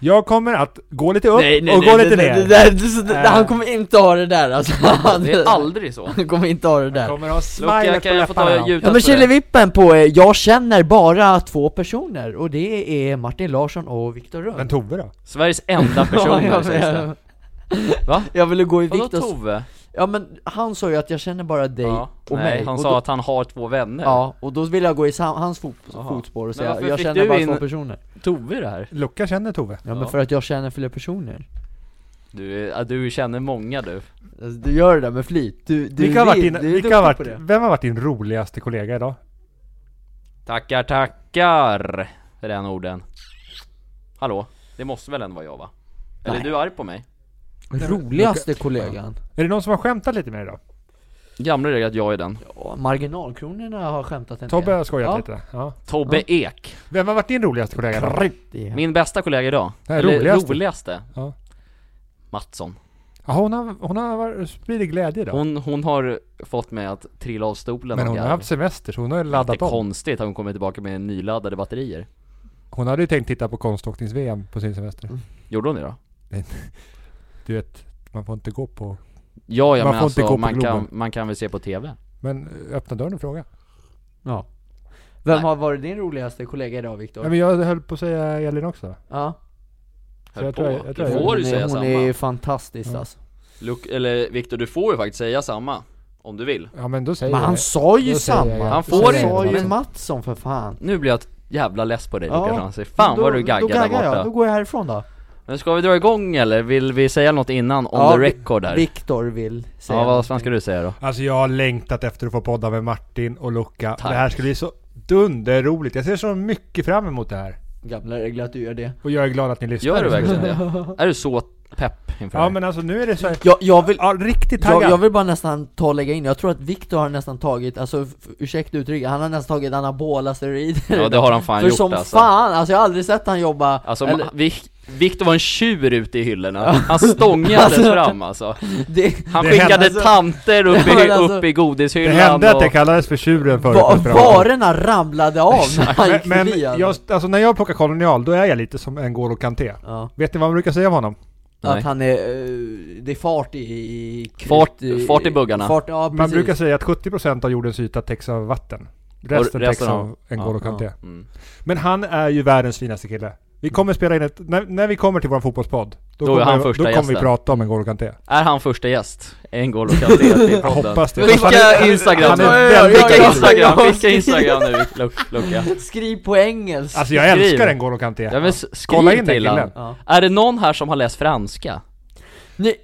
Jag kommer att gå lite upp Nej, nej, och nej, gå det- lite det- Eh. ner. Det där, det, det, Äh. han kommer inte ha det där alltså. Han, Det är aldrig så han kommer inte ha det Jag där. kommer ha Lucia, smilet på kan jag få ta läpparna. ljudet Ja på men Killevippen på eh, Jag känner bara två personer och det är Martin Larsson och Viktor Rönn. Men Tove då? det? Sveriges enda person Ja, ja, jag- sägs det Va? Jag ville gå i Vadå Viktors... Tove? Ja men han sa ju att jag känner bara dig Ja, och nej, mig. han och sa då, att han har två vänner Ja, och då vill jag gå i sam, hans fot, Jaha. fotspår och Men säga varför jag fick känner du bara in- två personer. Tove i det här? Luca känner Tove. Ja, men Ja. för att jag känner fler personer. Du, ja, du känner många du Alltså, du gör det där med flit. Du, du, Vilka har varit vill, din, du är vilka har duktig på varit, det. vem har varit din roligaste kollega idag? Tackar, tackar! Är den orden Hallå? Det måste väl ändå vara jag va? Eller Nej. är du arg på mig? Roligaste kollegan. Är det någon som har skämtat lite med idag? Gamla regel att jag är den Ja, marginalkronorna har skämtat en Tobbe del. har skojat Ja. lite. Ja. Tobbe Ek Vem har varit din roligaste kollega idag? Det är- Min bästa kollega idag Nej, Eller roligaste. roligaste, Ja. Mattsson Ja, hon har, hon har varit, spridit glädje idag. hon, hon har fått mig att trilla av stolen men av hon har garv. haft semester så hon har ju Det är laddat om. konstigt att hon kommer tillbaka med nyladdade batterier Hon hade ju tänkt titta på konståknings-VM på sin semester. Gjorde hon det då? Du vet, man får inte gå på... Ja, ja Man men får inte gå alltså, på man kan, Globen. man kan väl se på TV? Men eh, öppna dörren och fråga. Ja. Vem Nej. har varit din roligaste kollega idag Viktor? Ja, men jag höll på att säga Elin också. Ja. Så jag tror jag- jag tror jag- du får Hon ju är- säga Hon samma är fantastisk Ja. alltså. Luk- Eller Viktor, du får ju faktiskt säga samma Om du vill Ja men då säger Men jag han det. sa ju Då säger samma! jag ja. Han Då får säger inte, han jag sa ju det. men- Mattsson för fan! Nu blir jag ett jävla less på dig Ja, Lukas Hansen. Fan vad du Då gaggar där gaggar jag, borta då går jag härifrån då. Men ska vi dra igång eller? Vill vi säga något innan? On Ja, the vi- record här Viktor vill säga Ja, vad fan någonting. ska du säga då? Alltså jag har längtat efter att få podda med Martin och Luca. Tack. Det här ska bli så dunderroligt. Jag ser så mycket fram emot det här. Gamla regler att du gör det. Och jag är glad att ni lyssnar. Gör du verkligen det? Är du så pepp inför Ja det? men alltså nu är det så här... Jag, jag vill Ja, riktigt jag, taggad. jag vill bara nästan ta och lägga in, jag tror att Viktor har nästan tagit, alltså f- ursäkta uttrycket, han har nästan tagit anabola steroider Ja det har han fan För gjort som alltså fan, alltså jag har aldrig sett han jobba Alltså, eller, ma- Vic- Victor var en tjur ute i hyllorna, han stångades Alltså- fram alltså det, Han Det skickade hände- tanter upp Ja, men i, alltså- upp i det godishyllan hände att och... jag kallades för tjuren förut. va, men- varorna ramlade av när han gick men förbi alltså. jag, alltså när jag plockar kolonial, då är jag lite som en Goro Kanté. ja, Vet ni vad man brukar säga om honom? Att Nej. han är, eh, det är fart i, i krut- Fart- fart i buggarna. Fart, ja, Man precis. brukar säga att 70% av jordens yta täcks av vatten. Resten, resten täcks av- av en ja, Goro Kanté. Mm. Men han är ju världens finaste kille. Vi kommer spela in ett, när, när vi kommer till vår fotbollspodd, då, Då är kommer, han vi- första då kommer vi gästen. prata om en Goro Kanté. Är han första gäst? En gång och kan se till Jag podden hoppas det. Fast han är- Skicka instagram han nu! är Ja, ja, Skicka ja, instagram, ja, ja. skicka instagram nu Luk- Luca Skriv på engelska! Alltså jag Skriv. älskar en Goro Kanté. Ja men s- Kolla in skriv den till han killen. ja. Är det någon här som har läst franska? Ni,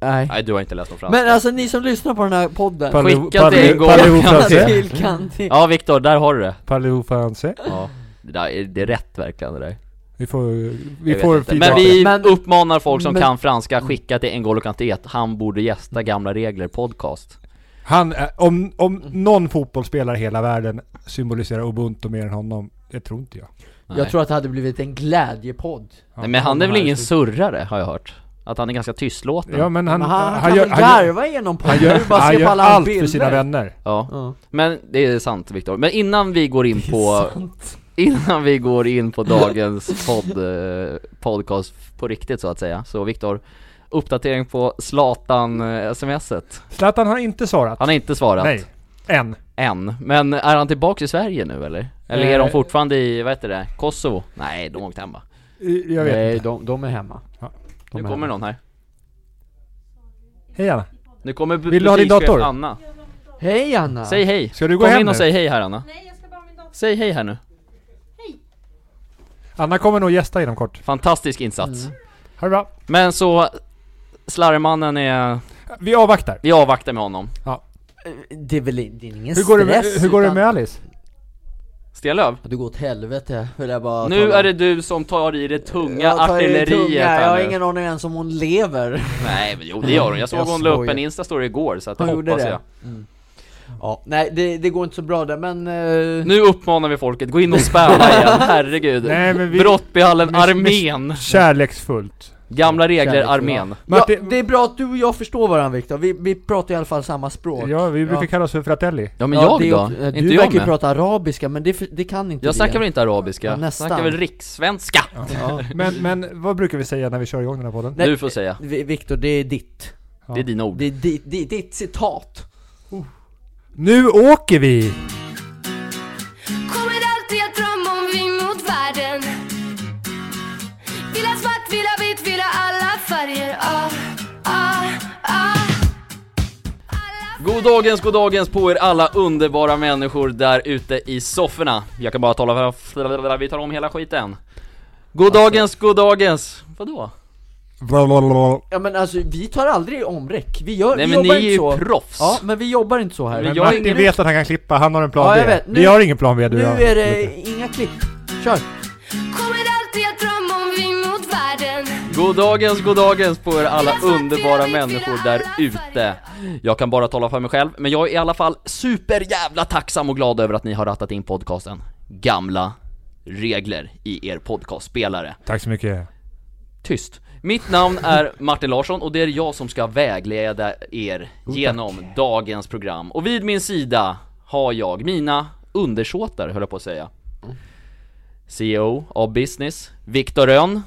nej. Nej du har inte läst någon franska Men alltså ni som lyssnar på den här podden, alltså, Parlez- skicka parlez- till en Goro parlez-vous Kanté. français? till Kanti Ja Viktor, där har du det Parlez-vous français? Ja, det, där, är- det är rätt verkligen det där Vi får, vi Jag vet får inte. Men på det. vi Men- uppmanar folk som men- kan franska, skicka till N'Golo Kanté att han borde gästa Gamla Regler podcast Han, är- om, om någon fotbollsspelare i hela världen symboliserar Ubuntu mer än honom, det tror inte jag. Nej. Jag tror att det hade blivit en glädjepodd Ja, Nej, men han är väl här ingen så- surrare har jag hört? Att han är ganska tystlåten Ja Ja, men han, Men han, han kan gör, väl han gör, garva genom podden? han gör, Du bara han ser gör på alla hans allt för bilder. sina vänner. Ja. Men det är sant Viktor, men innan vi går in på Innan vi går in på dagens podd, eh, podcast på riktigt så att säga Så Viktor, uppdatering på Zlatan-smset Zlatan har inte svarat. Han har inte svarat Nej. Än. än, men är han tillbaks i Sverige nu eller? Eller Eh. är de fortfarande i, vad heter det, Kosovo? Nej, de har åkt hem va? I- Jag vet Nej, inte. de, de är hemma Ja, Nu de är kommer hemma. någon här Hej Anna. Nu kommer bu- Vill du ha din butikschef dator? Anna Hej Anna! Säg hej! Ska du gå Kom hem in och nu? säg hej här Anna Nej, jag ska bara ha min dator. Säg hej här nu Anna kommer nog gästa inom kort. Fantastisk insats Mm. Ha det bra. Men så Slarvmannen är, Vi avvaktar. vi avvaktar med honom Eh, Det är väl in- det är ingen Hur går, det med, stress hur går det utan- med Alice? Stenlöv, Ja, Du går åt helvete, höll jag bara nu är det du som tar i det tunga jag tar i det artilleriet tunga. här Jag har nu. ingen aning ens om hon lever Nej men jo det gör hon, jag såg Jag hon la upp skojar. en instastory igår så att det Hon gjorde hoppas det? jag Mm. Ja, nej det, det går inte så bra där men... eh, Nu uppmanar vi folket, gå in och spamma igen, herregud Nej men vi... Brottbyhallen, miss- armén! Kärleksfullt. Gamla regler, Kärleksfulla. armén. Martin- ja, det är bra att du och jag förstår varandra Viktor, vi, vi pratar i alla fall samma språk Ja, vi brukar Ja. kallas för fratelli. Ja men det jag då? och- eh, inte Du jag verkar ju med? prata arabiska, men det, det kan inte Jag vi snackar än. väl inte arabiska? Ja, jag nästan. snackar väl rikssvenska? ja. Men, men vad brukar vi säga när vi kör igång den här podden? Nej. Du får säga, Vi- Viktor, det är ditt Ja. det är dina ord Det är ditt, det är ditt citat Nu åker vi! Kommer alltid att drömma om vi mot världen Vill ha svart, vill ha vitt, vill ha alla färger ah, ah, ah. Alla God dagens, god dagens på er alla underbara människor där ute i sofforna Jag kan bara tala för vi tar om hela skiten God dagens, god dagens Vadå? Blablabla. Ja men alltså, vi tar aldrig omräck, vi gör, Nej vi men ni jobbar är inte så ju proffs! Ja, men vi jobbar inte så här Men Men jag har Martin ingen- vet att han kan klippa, han har en plan Ja, jag B. vet. Nu- vi har ingen plan B du Nu och jag. är det inga klipp, kör! Kommer alltid att drömma om vi mot världen God dagens, god dagens på er alla underbara människor där ute Jag kan bara tala för mig själv, men jag är i alla fall superjävla tacksam och glad över att ni har rattat in podcasten Gamla regler i er podcastspelare Tack så mycket. Tyst. Mitt namn är Martin Larsson och det är jag som ska vägleda er genom dagens program. Och vid min sida har jag mina undersåtar, höll jag på att säga. CEO av Business, Viktor Rönn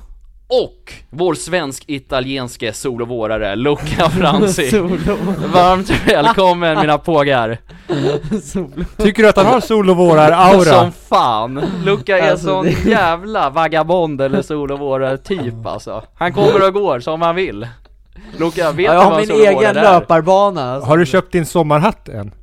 och vår svensk-italienske solovårare Luca Franzi. Varmt välkommen mina pågar! Solo. Tycker du att han har solovårar-aura? Som fan! Luca är Alltså, sån det- jävla vagabond eller solovårare-typ alltså. Han kommer och går som han vill. Luca, vet Ja, du jag har vad en min egen solovårare är? löparbana alltså. Har du köpt din sommarhatt än?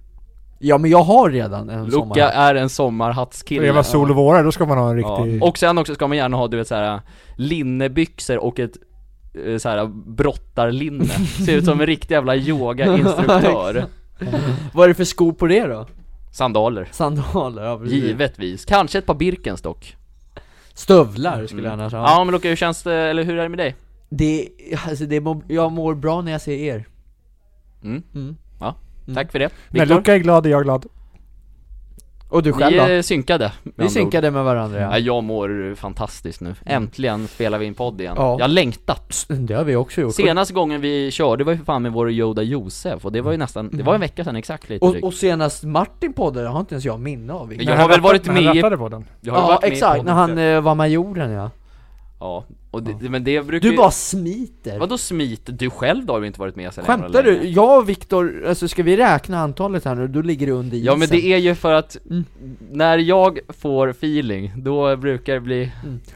Ja men jag har redan en Luca sommar är en För att sommarhattskille. vara solovårare, då ska man ha en riktig... Ja. Och sen också ska man gärna ha du vet såhär linnebyxor och ett eh, så här brottarlinne, ser ut som en riktig jävla yogainstruktör Vad är det för skor på det då? Sandaler, Sandaler, ja, precis. givetvis, kanske ett par Birkens dock Stövlar skulle jag annars ha Mm. Ja men Luca hur känns det, eller hur är det med dig? Det, alltså det, mår- jag mår bra när jag ser er Mm. Mm. Ja, Mm. tack för det När Viktor? Luca är glad är jag glad. Och du Vi själv då? är synkade med andra Vi ord. synkade med varandra ja, ja. Jag mår fantastiskt nu, äntligen spelar vi in podd igen Ja. Jag har längtat Psst, Mm, Det har vi också gjort Senaste gången vi körde var ju för fan med vår Yoda Josef och det var ju nästan, det var en vecka sedan exakt lite Mm. och, drygt. och senast Martin poddade har inte ens jag minne av vilken. Jag När har han väl rappade- varit när han med i- rappade på den. Jag har ju Ja varit med i exakt, podden. när han eh, var majoren ja Ja, och det, men det brukar Du ju- bara smiter Vadå smit? Du själv då har ju inte varit med sen jävla Skämtar länge. du? Jag och Viktor, alltså ska vi räkna antalet här nu? Då ligger du under isen Ja men det är ju för att Mm. när jag får feeling, då brukar det bli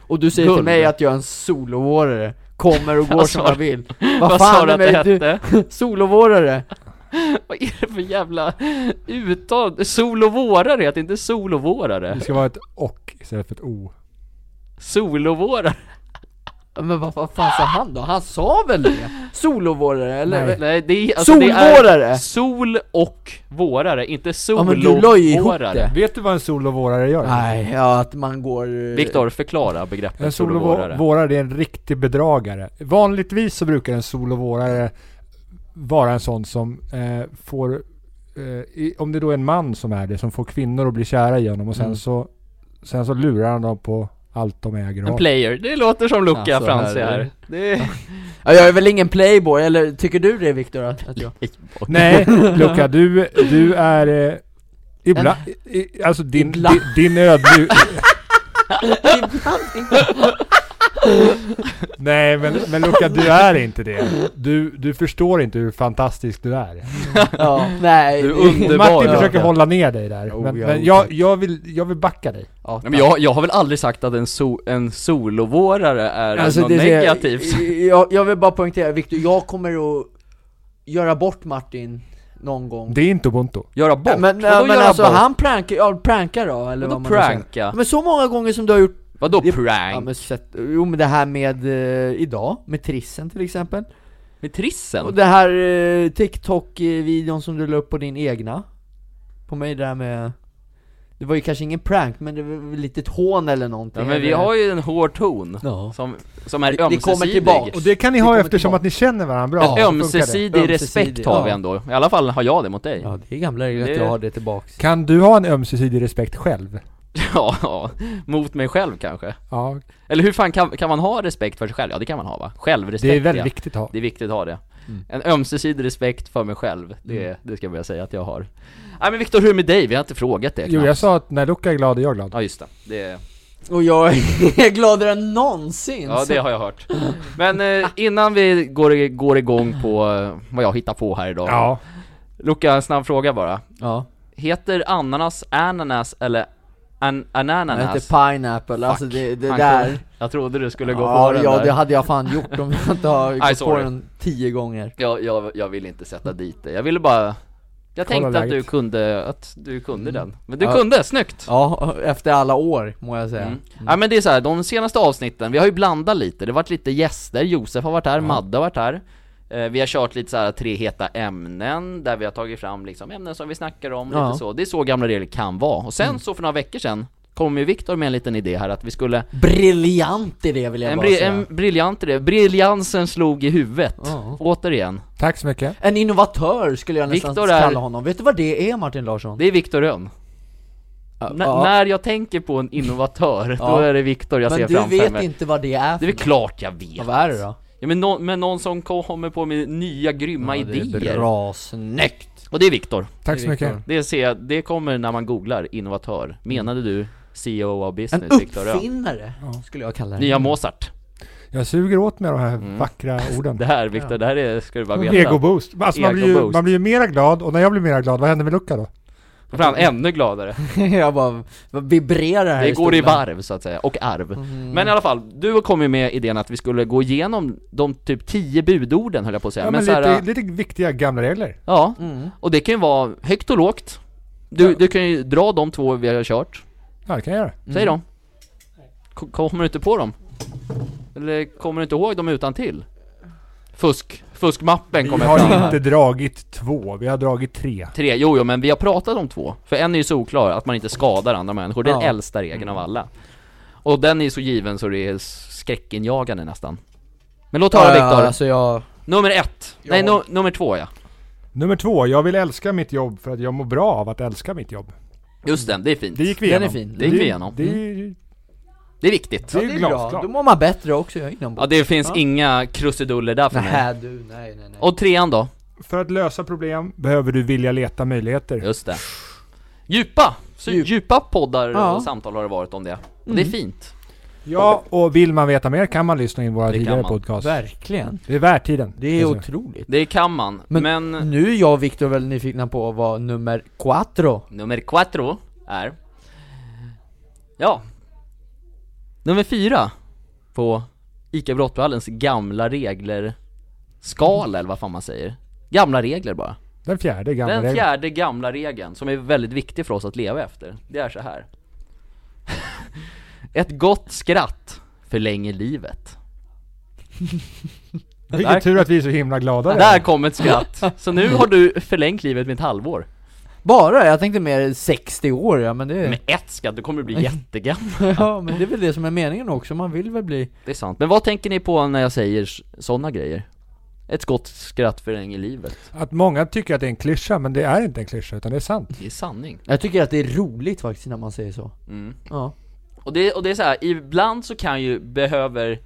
Och du säger till guld. mig att jag är en solovårare Kommer och går Vad som sa jag vill Vad sa du att det är du- hette? Solovårare! Vad är det för jävla uttal? Solovårare heter inte solovårare Mm. Det ska vara ett och istället för ett o. Solovårare? Men vad, vad fan sa han då? Han sa väl det? Solovårare eller? Nej. Nej det är, alltså, det är Solvårare! sol och vårare, inte Ja men du la ju ihop solovårare det! Vet du vad en solovårare gör? Nej, ja att man går... eh, Viktor, förklara begreppet En solovårare solovårare är en riktig bedragare. Vanligtvis så brukar en solovårare vara en sån som eh, får, eh, i, om det då är en man som är det, som får kvinnor att bli kära i honom och sen Mm. så, sen så lurar han dem på allt de äger och En har. player, det låter som Luca Alltså, Franzi herre. här Det Ja, jag är väl ingen playboy, eller tycker du det Viktor? Att att jag... Nej Luca, du, du är eh, ibland, i, alltså din, Ibland. din, din ödmjuk... Nej men, men Luca, du är inte det. Du, du förstår inte hur fantastisk du är. ja, nej Du är det- underbar. Martin ja. försöker hålla ner dig där, Oh, men, ja, men oh, jag, tack. jag, vill, jag vill backa dig. Ja, Nej, men jag, jag har väl aldrig sagt att en, so, en solovårare är Alltså, Alltså, något Alltså, det- det- negativt? Jag, jag vill bara poängtera Viktor, jag kommer att göra bort Martin någon gång Det är inte ubuntu. Göra bort? Men, men, Vadå men göra alltså bort? han prankar, ja prankar då eller Vadå vad man nu säger. pranka? Men så många gånger som du har gjort, Vadå det- prank? ja, men, sett, jo men det här med eh, idag, med trissen till exempel Med trissen? Och det här eh, TikTok-videon som du la upp på din egna På mig där med Det var ju kanske ingen prank men det var väl lite ett hån eller någonting ja, men vi eller- har ju en hård ton Ja. som, som är Det- det ömsesidig kommer tillbaka. Och det kan ni Vi ha kommer eftersom tillbaka. att ni känner varandra bra. En så funkar det. ömsesidig Ömsesidig, respekt har vi ja. ändå, i alla fall har jag det mot dig Ja det är gamla regler att Det- jag har det tillbaks Kan du ha en ömsesidig respekt själv? ja, ja, mot mig själv kanske. Ja, Eller hur fan kan, kan man ha respekt för sig själv? Ja det kan man ha va? Självrespekt det är väldigt ja. viktigt att ha. Det är viktigt att ha det. Mm. En ömsesidig respekt för mig själv, det, Mm. det ska jag börja säga att jag har. Nej men Viktor, hur är det med dig? Vi har inte frågat det Jo, knappt. jag sa att när Luca är glad är jag glad. Ja just det, det, Och jag är gladare än någonsin! ja, det har jag hört. Men eh, innan vi går, i- går igång på eh, vad jag hittar på här idag. Ja, Luca, en snabb fråga bara. ja. Heter ananas ananas eller an Den ananas? heter pineapple, alltså det, det där Jag trodde du skulle gå Ja, på den ja där. det hade jag fan gjort om jag inte har Aj, gått på sorry. den tio gånger jag, jag, jag vill inte sätta dit det. Jag ville bara... Jag Kolla tänkte att du läget. kunde, att du kunde den. Men du Mm. Ja. kunde, snyggt! Ja, efter alla år må jag säga Mm. Ja men det är så här, de senaste avsnitten, vi har ju blandat lite, det har varit lite gäster, Josef har varit här, Madde har varit här Eh, Vi har kört lite så här tre heta ämnen, där vi har tagit fram liksom ämnen som vi snackar om, Ja. Mm. lite så Det är så gamla regler kan vara, och sen så för några veckor sedan kom ju Viktor med en liten idé här att vi skulle Briljant idé vill jag En, bara bri- säga en en... briljant idé, briljansen slog i huvudet, Ja. återigen tack så mycket. innovatör skulle jag nästan Viktor är- kalla honom, vet du vad det är Martin Larsson? Det är Viktor Rönn N- Ja, När jag tänker på en innovatör, då Ja. är det Viktor jag ser Men du framför vet mig inte vad det är Det för är väl klart jag vet! Ja, Vad är det då? Ja, men, nå- men någon som kommer på med nya grymma Ja, idéer. Det är bra, snyggt! Och det är Viktor. Tack så mycket. Det ser jag, det kommer när man googlar innovatör. Menade du CEO av En business, Viktor Rönn? uppfinnare, skulle jag kalla det Nya Mozart. Jag suger åt mig de här vackra orden. Mm. Det här Viktor, det här är, ska du bara veta. Ego-boost. Alltså man, blir ju, Ego-boost. man blir ju mera glad och när jag blir mera glad, vad händer med Luca då? Då blir han ännu gladare. Jag bara vibrerar här Det går i stolen. varv så att säga, och arv. Mm. Men i alla fall, du kom ju med idén att vi skulle gå igenom de typ 10 budorden höll jag på att säga. Ja, men men så lite, här, lite viktiga gamla regler. ja. Mm. Och det kan ju vara högt och lågt. Du, du kan ju dra de två vi har kört. Ja, det kan jag göra. Säg dem. Ko- Kommer du inte på dem? Eller kommer du inte ihåg dem utan till? Fusk. Fuskmappen Vi kommer fram. har här. inte dragit två, vi har dragit tre. Tre, jo, jo men vi har pratat om två. För en är ju solklar, att man inte skadar andra människor. Det är Ja. den äldsta regeln av alla. Och den är så given så det är skräckinjagande nästan. Men låt höra Ja, ja, Viktor. alltså jag... Nummer ett. Nej, nu, nummer två ja. Nummer två, jag vill älska mitt jobb för att jag mår bra av att älska mitt jobb. Just den, det är fint. Mm. Det gick vi Den är igenom. fin. Det gick vi igenom. Mm. Det, det, Det är viktigt. det är Ja, ju bra. Då glasklart. mår man bättre också, jag är inombords Ja, det finns inga krusiduller där för mig. Nej du, nej nej nej Och trean då? För att lösa problem behöver du vilja leta möjligheter. Just det. Djupa! Så Djup. djupa poddar Ja. Mm. och samtal har det varit om det. Och det är fint. Ja, och vill man veta mer kan man lyssna in våra Det kan tidigare man. podcast. Verkligen, Det är värt tiden. det är Alltså. otroligt Det kan man. Men, Nu är jag och Viktor väldigt nyfikna på vad nummer quattro nummer quattro är... Ja. Nummer fyra på ICA Brottballens gamla regler skala eller vad fan man säger. Gamla regler bara. Den fjärde gamla Den regeln. fjärde gamla regeln som är väldigt viktig för oss att leva efter. Det är så här. Ett gott skratt förlänger livet. Där- Vilken tur att vi är så himla glada. Där kom ett skratt. Så nu har du förlängt livet med ett halvår. Bara? Jag tänkte mer 60 år ja, men det... Med ett skratt, du kommer bli jättegammal. ja men det är väl det som är meningen också, man vill väl bli... Det är sant. Men vad tänker ni på när jag säger sådana grejer? Ett gott skratt förlänger livet. Att många tycker att det är en klyscha, men det är inte en klyscha, utan det är sant. Det är sanning. Jag tycker att det är roligt faktiskt när man säger så Mm. Ja, Och det, och det är så här, ibland så kan ju behöver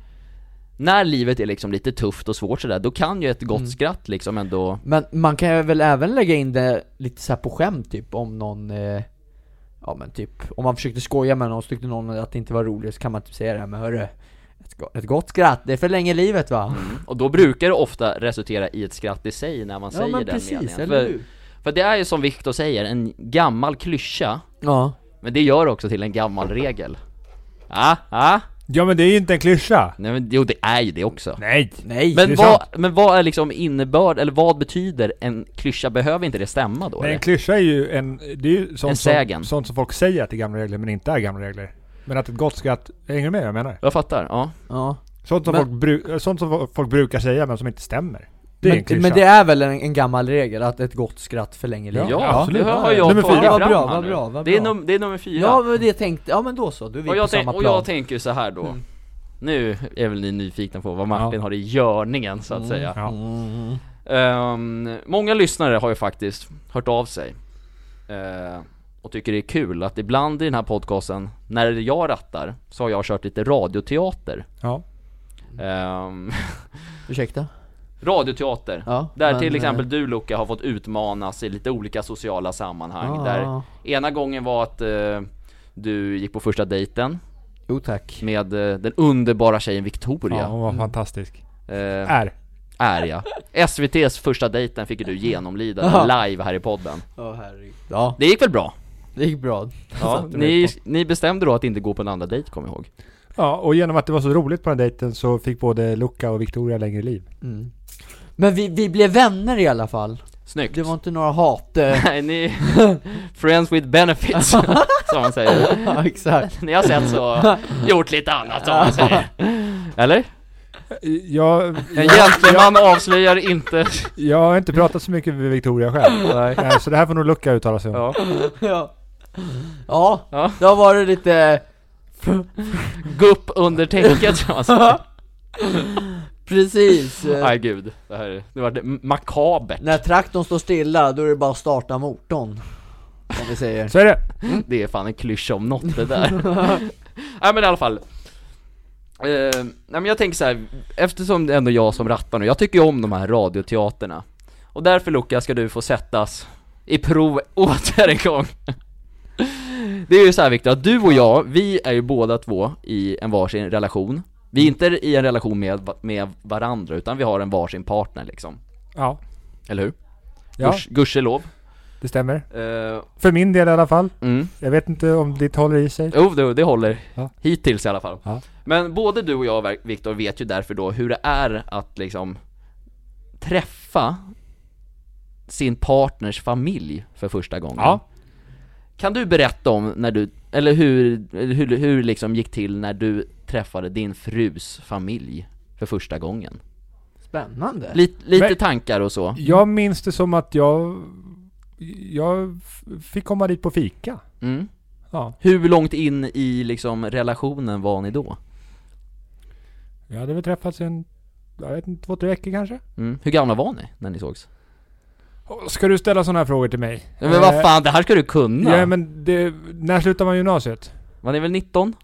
när livet är liksom lite tufft och svårt sådär, då kan ju ett gott Mm. skratt liksom ändå men man kan ju väl även lägga in det lite så här på skämt typ om någon eh... Ja men typ, om man försökte skoja med någon och så tyckte någon att det inte var roligt så kan man typ säga det här men hörru ett go- ett gott skratt, det förlänger livet va? Och då brukar det ofta resultera i ett skratt i sig när man Ja, säger men den precis, meningen. eller för, hur? för det är ju som Viktor säger, en gammal klyscha, Ja men det gör också till en gammal regel. Ah, ah. Ja, men det är ju inte en klyscha. Nej men jo det är ju det också Nej. Nej! det Men är vad, men vad är liksom innebörd, eller vad betyder en klyscha? Behöver inte det stämma då Men en eller? klyscha är ju en... Det är ju sånt, En sägen. Som, sånt som folk säger att det är gamla regler, men inte är gamla regler. Men att ett gott skratt... Hänger du med vad jag menar? Jag fattar, ja ja. Sånt som, Men- folk, bru, sånt som fo- folk brukar säga, men som inte stämmer. Det är en men, klyscha. men det är väl en, en gammal regel att ett gott skratt förlänger Ja, livet? absolut. det har Ja, ja. jag Nummer tagit fyra. fram Vad bra, här vad nu. bra, vad det, är bra. num- det är nummer fyra Ja, men det tänkte, ja men då så, då är vi och, på jag tänk, samma och plan jag tänker så här då Nu är väl ni nyfikna på vad Martin Ja. har i görningen så att säga Ja. Mm. Ehm, Många lyssnare har ju faktiskt hört av sig eh, och och tycker det är kul att ibland i den här podcasten, när jag rattar, så har jag kört lite radioteater. Ja. Ehm, Ursäkta? radioteater. Ja, Där men, till exempel eh, du Luca har fått utmanas i lite olika sociala sammanhang. ah, Där ena gången var att eh, du gick på första dejten Jo tack med eh, den underbara tjejen Victoria. Ja, hon var Mm. fantastisk. Eh, Är. är jag. SVT's första dejten fick ju du genomlida Ja. live här i podden. Ja herregud Ja, Det gick väl bra? det gick bra Ja, satte mig ni, ni bestämde då att inte gå på en andra dejt, kom jag ihåg. Ja, och genom att det var så roligt på den dejten så fick både Luca och Victoria längre liv. mm. Men vi, vi blev vänner i alla fall Snyggt. Det var inte några hat eh, Nej, ni... Friends with benefits, som man säger. Ja exakt Ni har sett så, gjort lite annat som man säger. Eller? Jag, En gentleman avslöjar inte... jag har inte pratat så mycket med Victoria själv. Nej, Så det här får nog Luca uttala sig om. Ja. Ja, ja, Ja. då var det lite Gupp under täcket, som man säger. Precis eh, Nej gud, det här är- det vart makabert. När traktorn står stilla, då är det bara att starta motorn Som vi säger Så är det. Det är fan en klyscha om något det där. Nej men i alla fall. Eh, nej men jag tänker så här, eftersom det är ändå jag som rattar nu, jag tycker ju om de här radioteaterna. Och därför Luca ska du få sättas i prov åter en gång. Det är ju så här Viktor, att du och jag, vi är ju båda två i en varsin relation. Vi är inte i en relation med, med varandra, utan vi har en varsin partner liksom. Ja, Eller hur? ja Guds- Gudskelov. det stämmer. Eh, För min del i alla fall. mm. Jag vet inte om ditt håller i sig. Jo, det, det håller. Ja. Hittills i alla fall. Ja. Men både du och jag, Ver- Viktor, vet ju därför då hur det är att liksom träffa sin partners familj för första gången. Ja. Kan du berätta om när du, eller hur, eller hur, hur liksom gick till när du träffade din frus familj för första gången? Spännande Lite, lite Men- tankar och så? Jag minns det som att jag... Jag f- fick komma dit på fika. Mm. Ja, Hur långt in i liksom relationen var ni då? vi hade väl träffats i en... Jag vet inte, två, tre veckor kanske? Mm. Hur gamla var ni när ni sågs? Åh, Ska du ställa sådana här frågor till mig? Ja, Men vad Eh, fan, det här ska du kunna! Ja, men det, när slutar man gymnasiet? Var ni väl 19?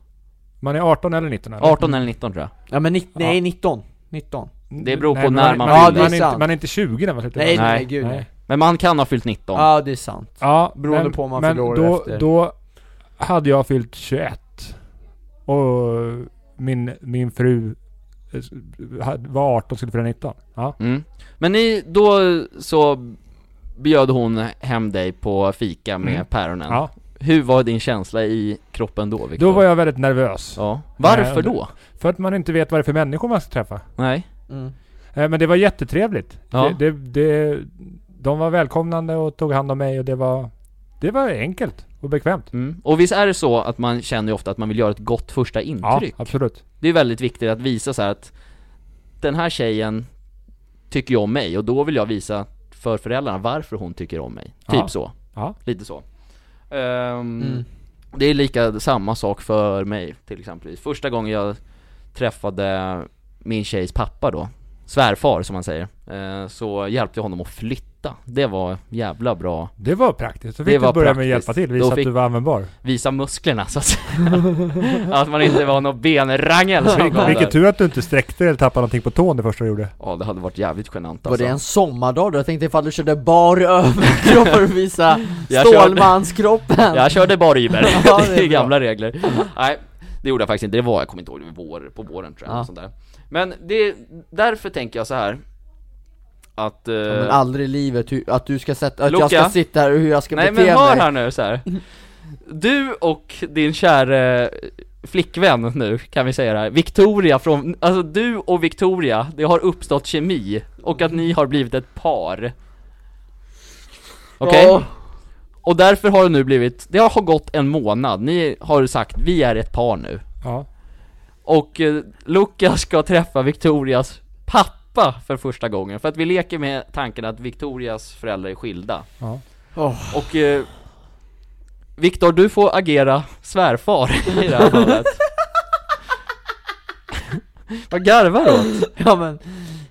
Man är 18 eller 19? Eller? 18 eller 19 tror jag. Ja men nitt- nej Ja. 19, 19 Det beror på men när man, man, man fyller. är Ja, det är inte, sant. man är inte 20 när man slutar Nej, nej, gymnasiet. Nej, gud nej. nej. Men man kan ha fyllt 19. Ja det är sant Ja, Beroende men, på om man men fyller år då, efter. då hade jag fyllt 21. Och min, min fru eh, hade- var 18 skulle fylla 19. Ja. Mm. Men ni, då så bjöd hon hem dig på fika med Mm. päronen. ja. Hur var din känsla i kroppen då Viktor? Då var jag väldigt nervös. Ja. Varför Nej, då? För att man inte vet vad det är för människor man ska träffa. Nej. mm. Eh, Men det var jättetrevligt. Ja. Det, det, det, de var välkomnande och tog hand om mig och det var, det var enkelt och bekvämt. Mm. Och visst är det så att man känner ju ofta att man vill göra ett gott första Ja, intryck? absolut. Det är väldigt viktigt att visa så här att den här tjejen tycker ju om mig och då vill jag visa för föräldrarna varför hon tycker om mig. Typ Ja. så. Ja. Lite så. Ehm, Mm. Det är lika samma sak för mig till exempel. Första gången jag träffade min tjejs pappa då, svärfar som man säger, eh, så hjälpte jag honom att flytta. Det var jävla bra. Det var praktiskt. Så Det fick var du börja med att praktiskt. hjälpa till. Då Visa fick- att du var användbar. Visa musklerna så att säga. Att man inte var någon benrangel som kom Vilken där. tur att du inte sträckte eller tappade någonting på tån det första du gjorde. Ja det hade varit jävligt genant Var alltså. det en sommardag då? Jag tänkte ifall du körde bar överkropp för att visa Jag körde- Stålmanskroppen Jag körde bara Uber, Ja, det är det är bra. gamla regler. Nej, det gjorde jag faktiskt inte, det var, jag kommer inte ihåg, det var vår, på våren tror jag, Ja. och sånt där. Men det, därför tänker jag så här att... eh, Men aldrig i livet, hur, att du ska sätta, att jag Luca? ska sitta här och hur jag ska nej bete men hör mig här nu så här. Du och din kära flickvän nu, kan vi säga det här, Victoria från, alltså du och Victoria, det har uppstått kemi, och att ni har blivit ett par. Okej? Ja. Och därför har det nu blivit, det har gått en månad, ni har sagt vi är ett par nu. Ja. Och eh, Lukas ska träffa Victorias pappa för första gången, för att vi leker med tanken att Victorias föräldrar är skilda. Ja. Åh. Och eh, Viktor, du får agera svärfar i det här fallet. Vad garvar du åt? Ja men,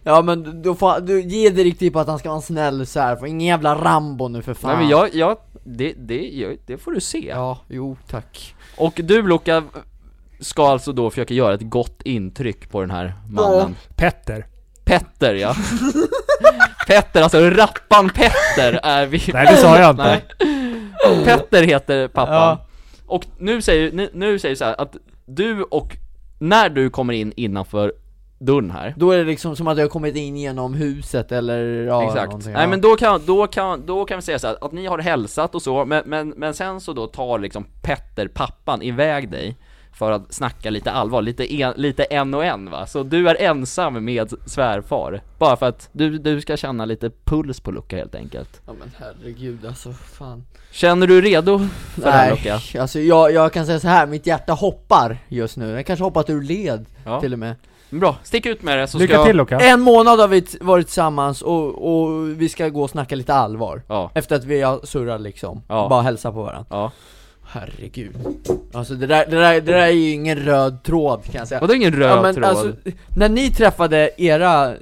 ja men då får, du ge direktiv på att han ska vara en snäll så här. Får ingen jävla Rambo nu för fan Nej men jag, jag det, det, gör- det får du se. Ja, jo tack. Och du Luca, ska alltså då försöka göra ett gott intryck på den här mannen. Petter. Petter ja. Petter, alltså rappan Petter är vi... Nej det sa jag inte. Nej. Petter heter pappan. Ja. Och nu säger, nu, nu säger vi så här att du och, när du kommer in innanför dörren här Då är det liksom som att jag har kommit in genom huset eller ja, Exakt, någonting, nej ja. men då kan, då kan, då kan vi säga så här, att ni har hälsat och så, men, men, men sen så då tar liksom Petter, pappan, iväg dig För att snacka lite allvar, lite en, lite en och en va? Så du är ensam med svärfar Bara för att du, du ska känna lite puls på Luca helt enkelt Ja men herregud alltså, fan Känner du redo för det här Luca? alltså jag, jag kan säga så här, mitt hjärta hoppar just nu, jag kanske hoppat ur led Ja. till och med Bra, stick ut med det så ska Lycka jag- till Luka. En månad har vi t- varit tillsammans och, och vi ska gå och snacka lite allvar Ja, Efter att vi har surrat liksom, Ja. bara hälsa på varandra ja Herregud Alltså det där, det där, det där är ju ingen röd tråd kan jag säga Och det är ingen röd ja, men tråd alltså, när ni träffade era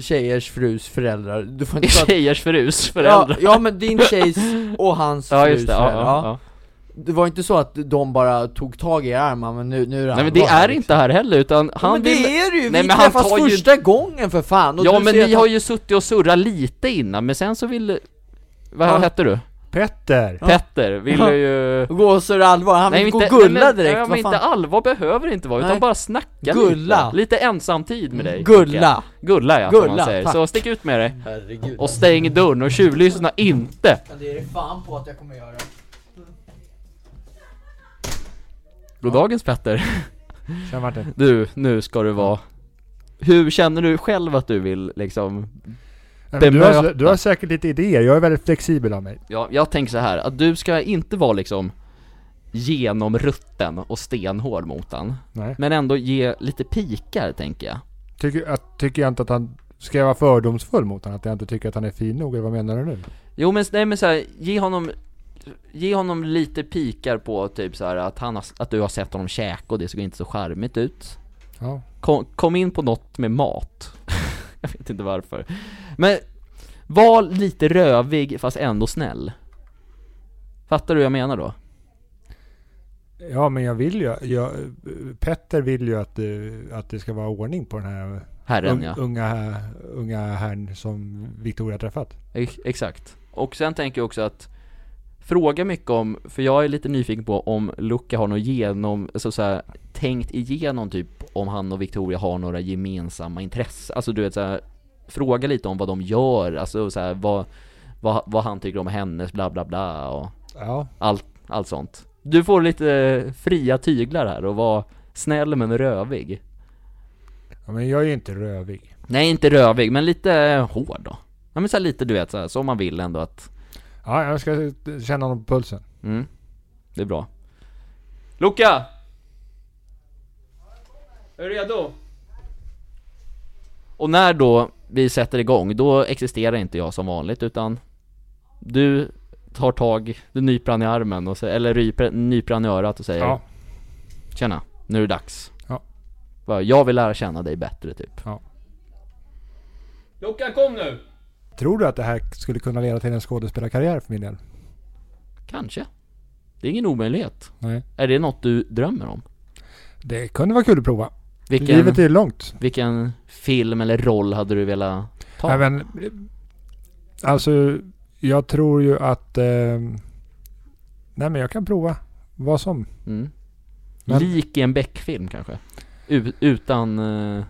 tjejers frus föräldrar, du får inte prata Tjejers frus, föräldrar Ja, ja men din tjejs och hans Ja frus just det, ja, föräldrar, ja, ja. Det var inte så att de bara tog tag i er armar, men nu, nu är det Nej men det allvar, är liksom. inte här heller utan han ja, men vill... det är det ju, Nej, vi men han träffas tar ju- första gången för fan och Ja du men ser ni att har ju suttit och surrat lite innan, men sen så ville... Vad Ja. hette du? Petter. Petter ville Ja. ju... han... Gå och surra allvar, han vill gå och gulla nej, men- direkt, Ja, men vad inte fan allvar behöver det inte vara, utan Nej. bara snacka Gulla. lite Lite ensamtid med dig Luca. Gulla! Gulla ja, som man Gulla, säger. tack. Så stick ut med dig Herregud och stäng dörren och tjuvlyssna inte! Det är det fan på att jag kommer göra Goddagens Petter, Tja Martin. du, nu ska du vara... Hur känner du själv att du vill liksom Nej, men Du har, Bemöta. du har säkert lite idéer. Jag är väldigt flexibel av mig. Ja, jag tänker så här att du ska inte vara liksom genomrutten och stenhård mot han. Nej. Men ändå ge lite pikar tänker jag. Tycker, att, tycker jag inte att han... Ska jag vara fördomsfull mot honom? Att jag inte tycker att han är fin nog? Eller vad menar du nu? Jo men, nej, men så här, ge honom Ge honom lite pikar på typ så här att, han har, att du har sett honom käka och det såg inte så charmigt ut. Ja. Kom, kom in på något med mat. jag vet inte varför. Men var lite rövig fast ändå snäll. Fattar du vad jag menar då? Ja, men jag vill ju... Jag, Petter vill ju att, eh, att det ska vara ordning på den här Herren un, ja. unga, unga herrn som Victoria träffat. Ex- Exakt. Och sen tänker jag också att Fråga mycket om, för jag är lite nyfiken på om Luca har något genom, alltså så här, tänkt igenom typ om han och Victoria har några gemensamma intressen. Alltså du vet så här, fråga lite om vad de gör, alltså så här, vad, vad, vad han tycker om hennes bla bla bla och Ja, allt, allt sånt. Du får lite fria tyglar här och var snäll men rövig. ja men jag är ju inte rövig. Nej inte rövig, men lite hård då. Ja men så här, lite du vet så här, som man vill ändå att Ja, jag ska känna honom på pulsen. Mm, det är bra. Luca! Är du redo? Och när då vi sätter igång, då existerar inte jag som vanligt utan du tar tag, du nyper han i armen och säger, eller ryper, nyper han i örat och säger Ja, Tjena, nu är det dags. Ja. Bara, Jag vill lära känna dig bättre typ. Ja. Luca kom nu! Tror du att det här skulle kunna leda till en skådespelarkarriär för min del? Kanske. Det är ingen omöjlighet. Nej. Är det något du drömmer om? Det kunde vara kul att prova. Livet är långt. Vilken film eller roll hade du velat ta? Nej, men, eh, alltså, jag tror ju att... Eh, nej, men jag kan prova vad som. mm. men- Lik i en Beck-film kanske? U- utan... eh,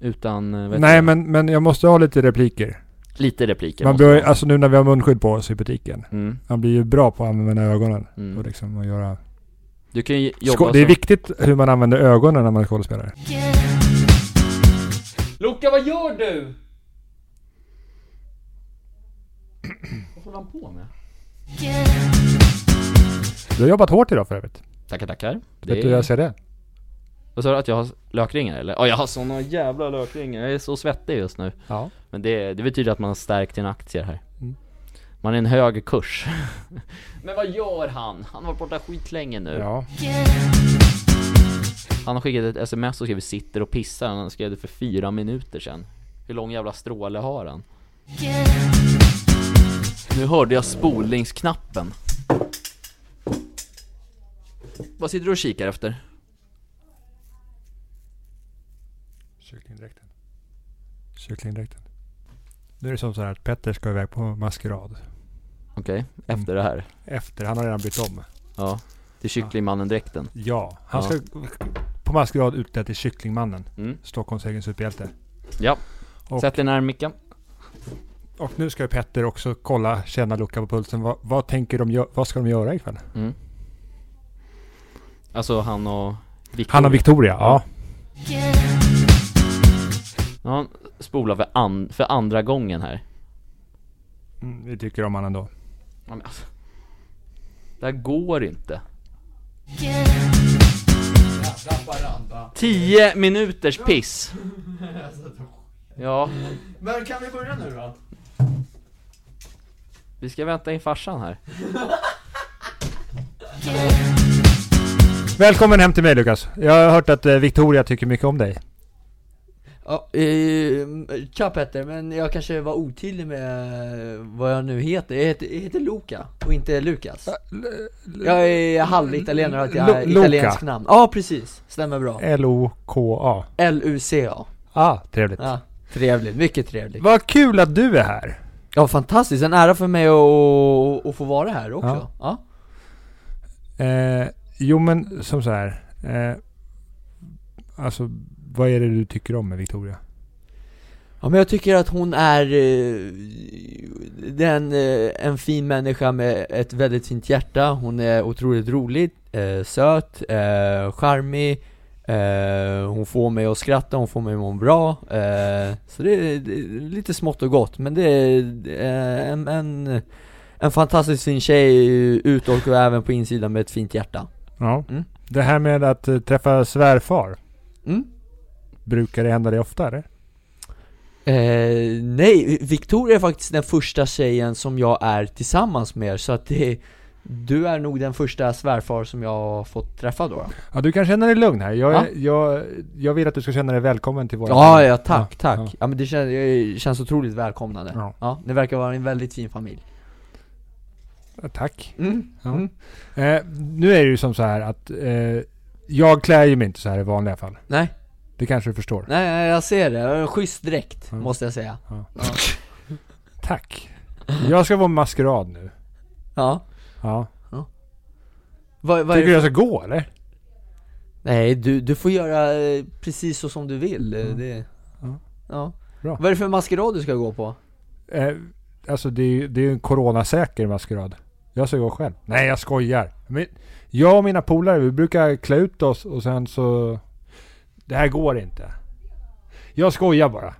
Utan... eh, vet Nej, du, men, men jag måste ha lite repliker. Lite repliker Man måste bör, man. alltså nu när vi har munskydd på oss i butiken. mm, Man blir ju bra på att använda ögonen. Och mm. liksom att göra... Du kan ju jobba Sko- det är viktigt hur man använder ögonen när man är skådespelare. Luca, vad gör du? vad håller han på med? Du har jobbat hårt idag för övrigt. Tackar, tackar. Det Vet du hur jag är... ser det? Vad sa du? Att jag har lökringar eller? Ja, jag har såna jävla lökringar. Jag är så svettig just nu. Ja. Men det, det betyder att man har stärkt sina aktier här Mm. Man är en hög kurs Men vad gör han? Han har varit borta skitlänge nu Ja. Han har skickat ett sms och skrivit 'sitter och pissar' Han skrev det för fyra minuter sedan Hur lång jävla stråle har han? Nu hörde jag spolningsknappen. Vad sitter du och kikar efter? Kycklingdräkten. Kycklingdräkten. Nu är det som så här att Petter ska iväg på maskerad. Okej, efter det här. Efter, han har redan bytt om. Ja. Till Kycklingmannen-dräkten. Ja, han Ja. ska på maskerad utklädd till Kycklingmannen. Mm. Stockholms egen superhjälte. Ja. Och- Sätt dig nära micken. Och nu ska ju Petter också kolla, känna lucka på pulsen. Vad, vad tänker de, gö- vad ska de göra ikväll? Mm. Alltså han och Victor. Han och Victoria, ja. Ja, han spolar för, an, för andra gången här. Mm, vi tycker om han ändå. Ja, men alltså. Det här går inte. 10 minuters piss. Ja, Men kan vi börja nu då? vi ska vänta in farsan här. Välkommen hem till mig Lukas. Jag har hört att eh, Victoria tycker mycket om dig. Ja, eh, tja Petter, men jag kanske var otydlig med eh, vad jag nu heter. Jag heter, jag heter Luca och inte Lukas. Jag är halvitalienare och har ett Lu- ja- italienskt Luca. namn. Ja, precis. Stämmer bra. L-O-K-A. L-U-C-A. Ah, trevligt. Ja, trevligt. Mycket trevligt. Vad kul att du är här. Ja, fantastiskt. En ära för mig att, att få vara här också. Ja. Eh, jo men som så här. Eh, alltså, vad är det du tycker om med Victoria? Ja, men jag tycker att hon är eh, den, eh, en fin människa med ett väldigt fint hjärta. Hon är otroligt rolig, eh, söt, eh, charmig. Eh, hon får mig att skratta, hon får mig att må bra. Eh, så det är, det är lite smått och gott, men det är eh, en, en, en fantastiskt fin tjej eh, utåt och även på insidan med ett fint hjärta. Ja. Mm. Det här med att eh, träffa svärfar. Mm. Brukar det hända dig ofta eller? Eh, nej, Victoria är faktiskt den första tjejen som jag är tillsammans med, så att det Du är nog den första svärfar som jag har fått träffa då Ja, du kan känna dig lugn här. Jag, Ja. jag, jag vill att du ska känna dig välkommen till våra Ja, ja, tack, tack! ja. Ja, men det känns, eh, känns otroligt välkomnande Ja. Ja, det verkar vara en väldigt fin familj Ja, Tack. mm. Ja. Mm. Eh, nu är det ju som så här att eh, jag klär ju mig inte så här i vanliga fall. Nej, Det kanske du förstår. nej, nej, jag ser det, Jag har en schysst dräkt, Mm. måste jag säga Tack. Jag ska vara maskerad nu. Ja, Ja. vad, vad är Tycker det? du jag ska gå eller? Nej, du, du får göra eh, precis så som du vill, eh, det Ja. Ja Bra. Vad är det för maskerad du ska gå på? Eh, alltså det är ju det är ju en coronasäker maskerad. Jag ska gå själv. Nej, jag skojar. Men jag och mina polare, vi brukar klä ut oss och sen så... Det här går inte. Jag skojar bara.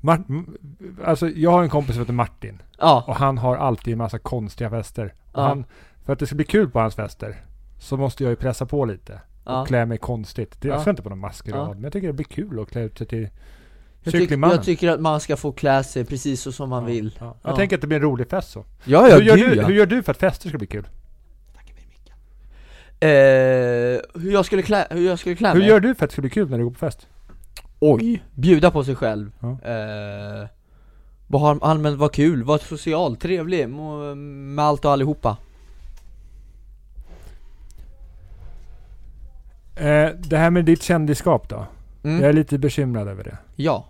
Mart- m- alltså jag har en kompis som heter Martin. Ja, Och han har alltid en massa konstiga fester. Och Ja. han, för att det ska bli kul på hans fester så måste jag ju pressa på lite. ja. Och klä mig konstigt. Det- Jag Ja. ska inte på någon maskerad. Ja. Men jag tycker det blir kul att klä ut sig till Jag, tyck, Cykelmannen. jag tycker att man ska få klä sig precis så som man vill Ja. Jag Ja. tänker att det blir en rolig fest så. Ja, ja, hur, gör gud du, ja. hur gör du för att fester ska bli kul? Eh, hur jag skulle klä, hur jag skulle klä Hur mig? gör du för att det ska bli kul när du går på fest? Oj! Bjuda på sig själv Ja. eh, Bara ha- allmänt vara kul, vara social, trevlig må- med allt och allihopa Eh, det här med ditt kändisskap då? mm. Jag är lite bekymrad över det. Ja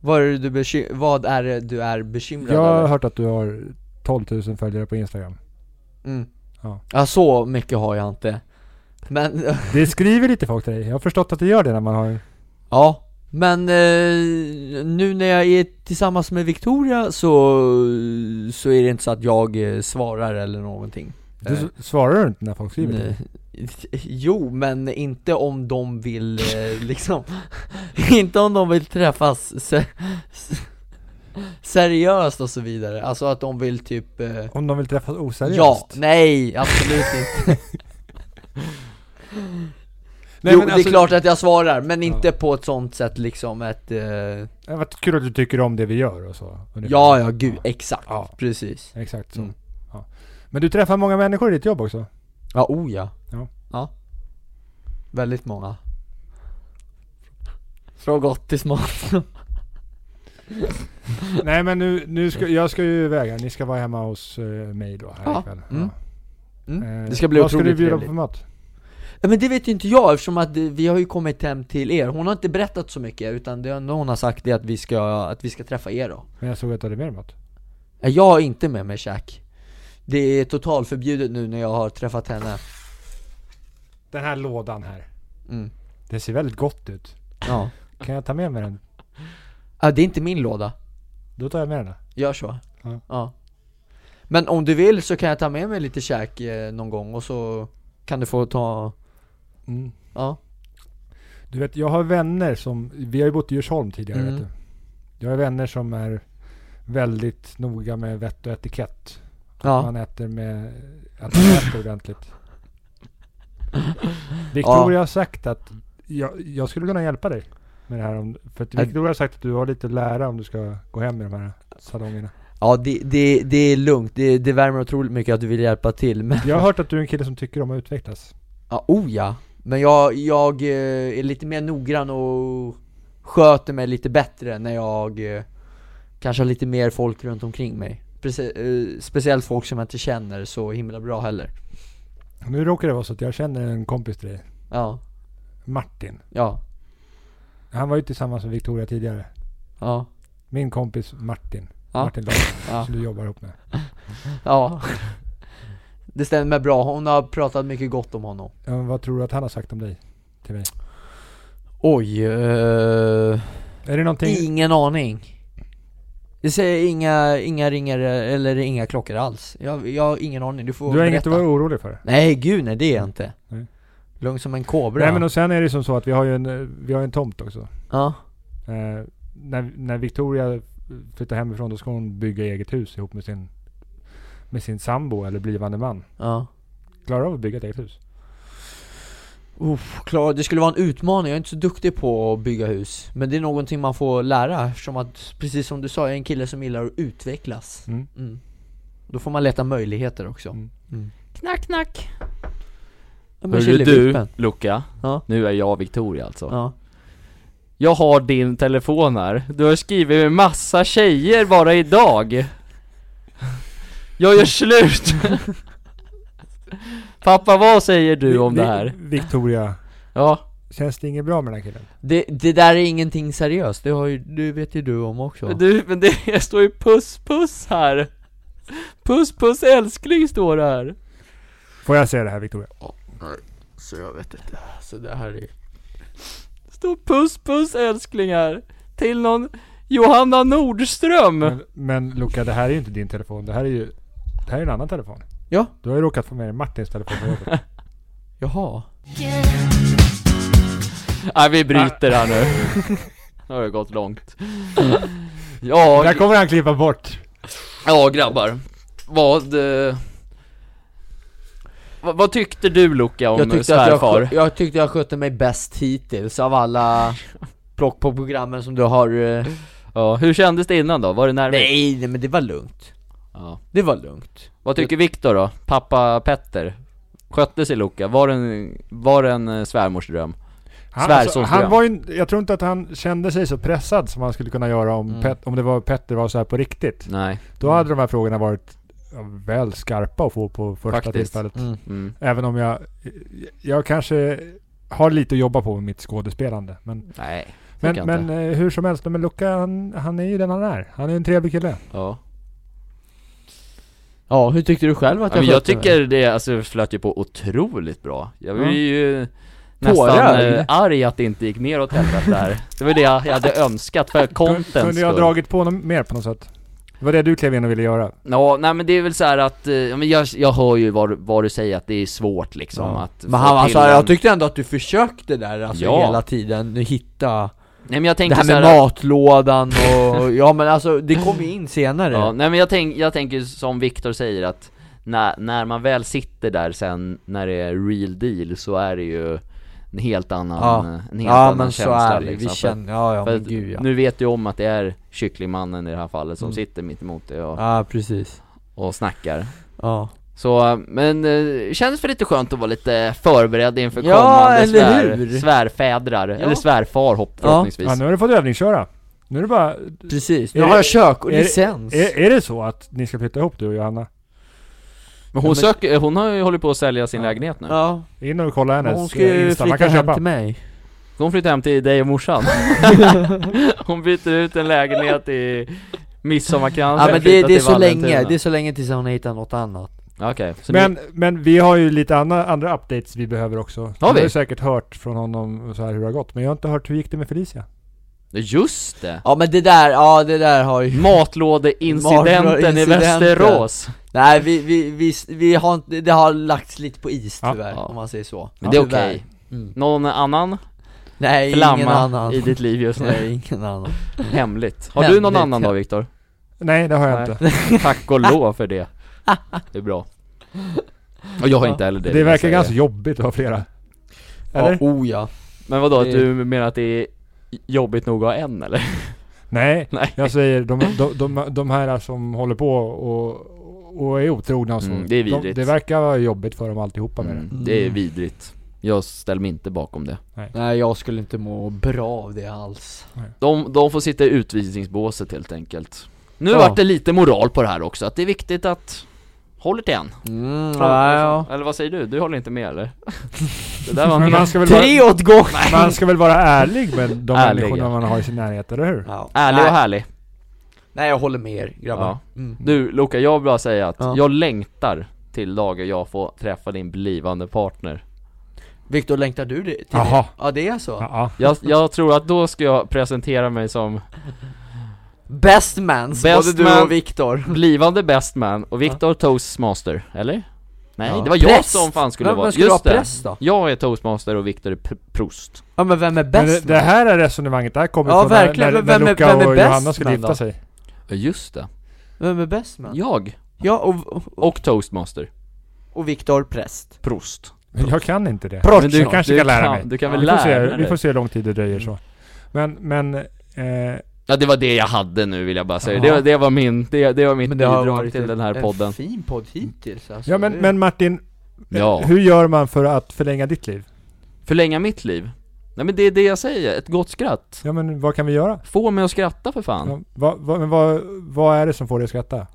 vad är, det du beky- vad är det du är bekymrad Jag har över? hört att du har 12 000 följare på Instagram. Mm. Ja. Ja. så mycket har jag inte Men, Det skriver lite folk till dig. Jag har förstått att det gör det när man har... ja Men eh, nu när jag är tillsammans med Victoria så, så är det inte så att jag eh, svarar eller någonting Du Eh. s- svarar du inte när folk skriver till dig? Nej. Jo, men inte om de vill eh, liksom Inte om de vill träffas se se- seriöst och så vidare, alltså att de vill typ eh, Om de vill träffas oseriöst? Ja, nej, absolut inte Nej, Jo, men det alltså- är klart att jag svarar, men Ja. inte på ett sånt sätt liksom ett eh, Det var kul att du tycker om det vi gör och så. ungefär. Ja, ja, gud, exakt, Ja. precis Exakt så. Mm. Ja. Men du träffar många människor i ditt jobb också? Ja, oh ja Ja. ja. Väldigt många Från gott till smått Nej men nu, nu Mm. ska, jag ska ju iväg här. Ni ska vara hemma hos eh, mig då här Ja. ikväll. Mm. Mm. Eh, Det ska bli Vad ska du otroligt bjuda på trevligt. för mat? Ja, men det vet ju inte jag eftersom att eh, vi har ju kommit hem till er. Hon har inte berättat så mycket utan det enda hon har sagt är att vi ska, att vi ska träffa er då. Men jag såg att du hade mer mat. Nej, Jag har inte med mig käk. Det är totalförbjudet nu när jag har träffat henne. Den här lådan här. Mm. Den ser väldigt gott ut. Ja. Kan jag ta med mig den? ja, det är inte min låda. Då tar jag med den. då. Gör så. Ja. Men om du vill så kan jag ta med mig lite käk eh, någon gång och så kan du få ta, Mm. ja. Du vet, jag har vänner som... Vi har ju bott i Djursholm tidigare Mm. vet du. Jag har vänner som är väldigt noga med vett och etikett. Ja, Man äter med... Att man äter ordentligt. Victoria har sagt att... Jag, jag skulle kunna hjälpa dig med det här om... För att Äh. Victoria har sagt att du har lite att lära om du ska gå hem i de här salongerna. ja det, det, det är lugnt, det, det värmer otroligt mycket att du vill hjälpa till men, Jag har hört att du är en kille som tycker om att utvecklas. ja, oh ja Men jag, jag eh, är lite mer noggrann och sköter mig lite bättre när jag eh, kanske har lite mer folk runt omkring mig Prece- eh, Speciellt folk som jag inte känner så himla bra heller Nu råkar det vara så att jag känner en kompis till dig. Ja, Martin. ja, Han var ju tillsammans med Victoria tidigare. ja, Min kompis Martin. Ja. Martin Larsson, ja som du jobbar ihop med. Ja Det stämmer bra, hon har pratat mycket gott om honom Ja, men vad tror du att han har sagt om dig? Till mig? Oj, eh, Är det någonting... ingen aning Det säger inga, inga ringer eller inga klockor alls Jag, jag har ingen aning, du får Du har inget berätta att vara orolig för? Nej gud nej det är jag inte Nej. Lugn som en kobra Nej men och sen är det som så att vi har ju en, eh, vi har en tomt också. Ja, Eh, när, när Victoria flyttar hemifrån då ska hon bygga eget hus ihop med sin, med sin sambo eller blivande man. ja Klarar du av att bygga ett eget hus? Uff, klar, det skulle vara en utmaning, jag är inte så duktig på att bygga hus Men det är någonting man får lära eftersom att, precis som du sa, jag är en kille som gillar att utvecklas Mm. Mm. Då får man leta möjligheter också Mm. Knack knack Ja, men Hörru du, Killevippen. Luca, Ja. nu är jag Victoria alltså Ja. Jag har din telefon här, du har skrivit med massa tjejer bara idag Jag gör slut! Pappa vad säger du om Vi- det vi- här? Victoria, Ja, känns det inget bra med den här killen? Det, det där är ingenting seriöst, det, har ju, det vet ju du om också men du, men det står ju puss puss här Puss puss älskling står det här Får jag se det här Victoria? Så jag vet inte, så det här är Står puss puss älskling här Till någon Johanna Nordström Men, men Luca, det här är ju inte din telefon. Det här är ju det här är en annan telefon. Ja. Du har ju råkat få med dig Martins telefon på jobbet. Jaha Nej vi bryter här nu Nu har det gått långt Ja, Där kommer han klippa bort. Ja grabbar, vad... Eh, vad, vad tyckte du Luca om jag tyckte, att jag, svärfar? skö- jag tyckte jag skötte mig bäst hittills av alla plock på programmen som du har eh, Ja, hur kändes det innan då? Var det närmare? nej, nej men det var lugnt Ja. Det var lugnt Vad tycker Viktor då? Pappa Petter? Skötte sig Luca? Var det en, var det en eh, svärmorsdröm? Han, alltså, Svärsons han dröm. var ju, jag tror inte att han kände sig så pressad som han skulle kunna göra om, Mm. Pet, om det var Petter var så här på riktigt. Nej, Då hade de här frågorna varit ja, väl skarpa att få på första Faktiskt. tillfället. mm. mm. Även om jag, jag kanske har lite att jobba på med mitt skådespelande. Men, nej men, jag men eh, hur som helst, men Luca han, han är ju den han är. Han är en trevlig kille. ja. Ja, hur tyckte du själv att ja jag men jag skötte mig? tycker det, alltså flöt ju på otroligt bra Jag blev Ja. ju nästan Tårar. eh, arg att det inte gick mer åt helvete där Det var det jag, jag hade önskat för contents Kunde jag skull. dragit på honom mer på något sätt? Det var det du klev in och ville göra. Ja, nej men det är väl så här att, eh, ja, men jag, jag hör ju vad, vad du säger att det är svårt liksom Ja. att få Men han, alltså, till en- jag tyckte ändå att du försökte där alltså Ja. hela tiden, hitta Nej men jag Det tänkte här så med här, matlådan och, ja men alltså det kommer ju in senare ja, nej men jag, tänk, jag tänker som Viktor säger att när, när man väl sitter där sen när det är real deal så är det ju en helt annan, Ja. en helt Ja annan men så känsla är det, liksom. vi För- känner, ja ja för men att gud ja Nu vet du om att det är kycklingmannen i det här fallet som Mm. sitter mitt emot dig och, Ja precis, och snackar ja Så, men eh, kändes för lite skönt att vara lite förberedd inför Ja, kommande eller svär, hur? svärfädrar, eller svärfar hopp, förhoppningsvis Ja, nu har du fått övningsköra. Nu är det bara... Precis, nu Är har det- jag kök och är det- licens. Är, är det så att ni ska flytta ihop du och Johanna? Men hon söker, hon har ju hållit på att sälja sin lägenhet nu. Ja, In och kolla hennes hon ska eh, ju Insta. Man flytta kan hem köpa. till mig. Hon flyttar hem till dig och morsan. hon byter ut en lägenhet i midsommarkransen. Ja men det, flyttar det är till så länge, Vallentuna. det är så länge tills hon hittar något annat. Okej, så ni- Men, men vi har ju lite andra, andra updates vi behöver också. Har Du har vi? ju säkert hört från honom så här hur det har gått. Men jag har inte hört hur gick det med Felicia. just det! Ja men det där, ja det där har ju... Matlådeincidenten i Matlådeincidenten. Västerås! Nej vi, vi, vi, vi har inte, det har lagts lite på is Ja. tyvärr, Ja. om man säger så. Men det är Tyvärr. okej. Mm. Någon annan Nej, ingen flamma annan. i ditt liv just nu. Nej, ingen annan. Hemligt. Har du någon Hemligt. annan då Viktor? Nej, det har jag Nej. inte. Tack och lov för det. Det är bra. Och jag har inte heller det. Det, vill jag verkar säga. ganska jobbigt att ha flera. Eller? Ja, oh ja. Men vadå, att Det- du menar att det är jobbigt nog att ha en eller? Nej, Nej. jag säger de, de, de, de här som håller på och, och är otrogna och så. Mm, det är de, vidrigt. det verkar vara jobbigt för dem allihopa med det. Mm, det är vidrigt. Jag ställer mig inte bakom det. Nej jag skulle inte må bra av det alls. De, de får sitta i utvisningsbåset helt enkelt. Nu Ja. vart det lite moral på det här också, att det är viktigt att Håller till en. Mm, Eller vad säger du? Du håller inte med eller? Det där var Men man mer ska, väl vara, Tre åt gång! man ska väl vara ärlig med de Ärlig, människorna ja. man har i sin närhet, eller hur? Ja. ärlig och Nej, härlig. nej jag håller med er grabbar. Ja. Mm. Du Luka, jag vill bara säga att Ja. jag längtar till dagen jag får träffa din blivande partner. Viktor längtar du det- till Jaha. det? Ja det är så? Ja, ja. Jag, jag tror att då ska jag presentera mig som Best mans, Best både du man. och Viktor blivande best man och Viktor toastmaster, eller? Nej, Ja. det var jag Präst! som fan skulle Vem- vara, vem skulle just vara det. präst då? Jag är toastmaster och Viktor är pr- prost. Ja men vem är Men bäst det, det här är resonemanget, det här kommer Ja, från när, verkligen. när, Men när vem är- Luca vem är och bäst Johanna skulle man gifta då? sig. Ja just det. Vem är bäst man? Jag Ja och, och, och toastmaster, och Viktor präst prost. Men jag kan inte det. Men du kanske du kan lära kan- mig. du kan väl vi, får se, lära vi får dig. Mm. se hur lång tid det dröjer så. Men, men... Eh, Ja det var det jag hade nu vill jag bara säga, Ja. det, var- det var min, det, det var mitt det har bidrag varit till en- den här podden en fin podd hittills alltså. ja men, Det- men Martin, eh, Ja, hur gör man för att förlänga ditt liv? förlänga mitt liv Nej men det är det jag säger, ett gott skratt Ja men vad kan vi göra? Få mig att skratta för fan Ja, vad, vad, men vad, vad är det som får dig att skratta?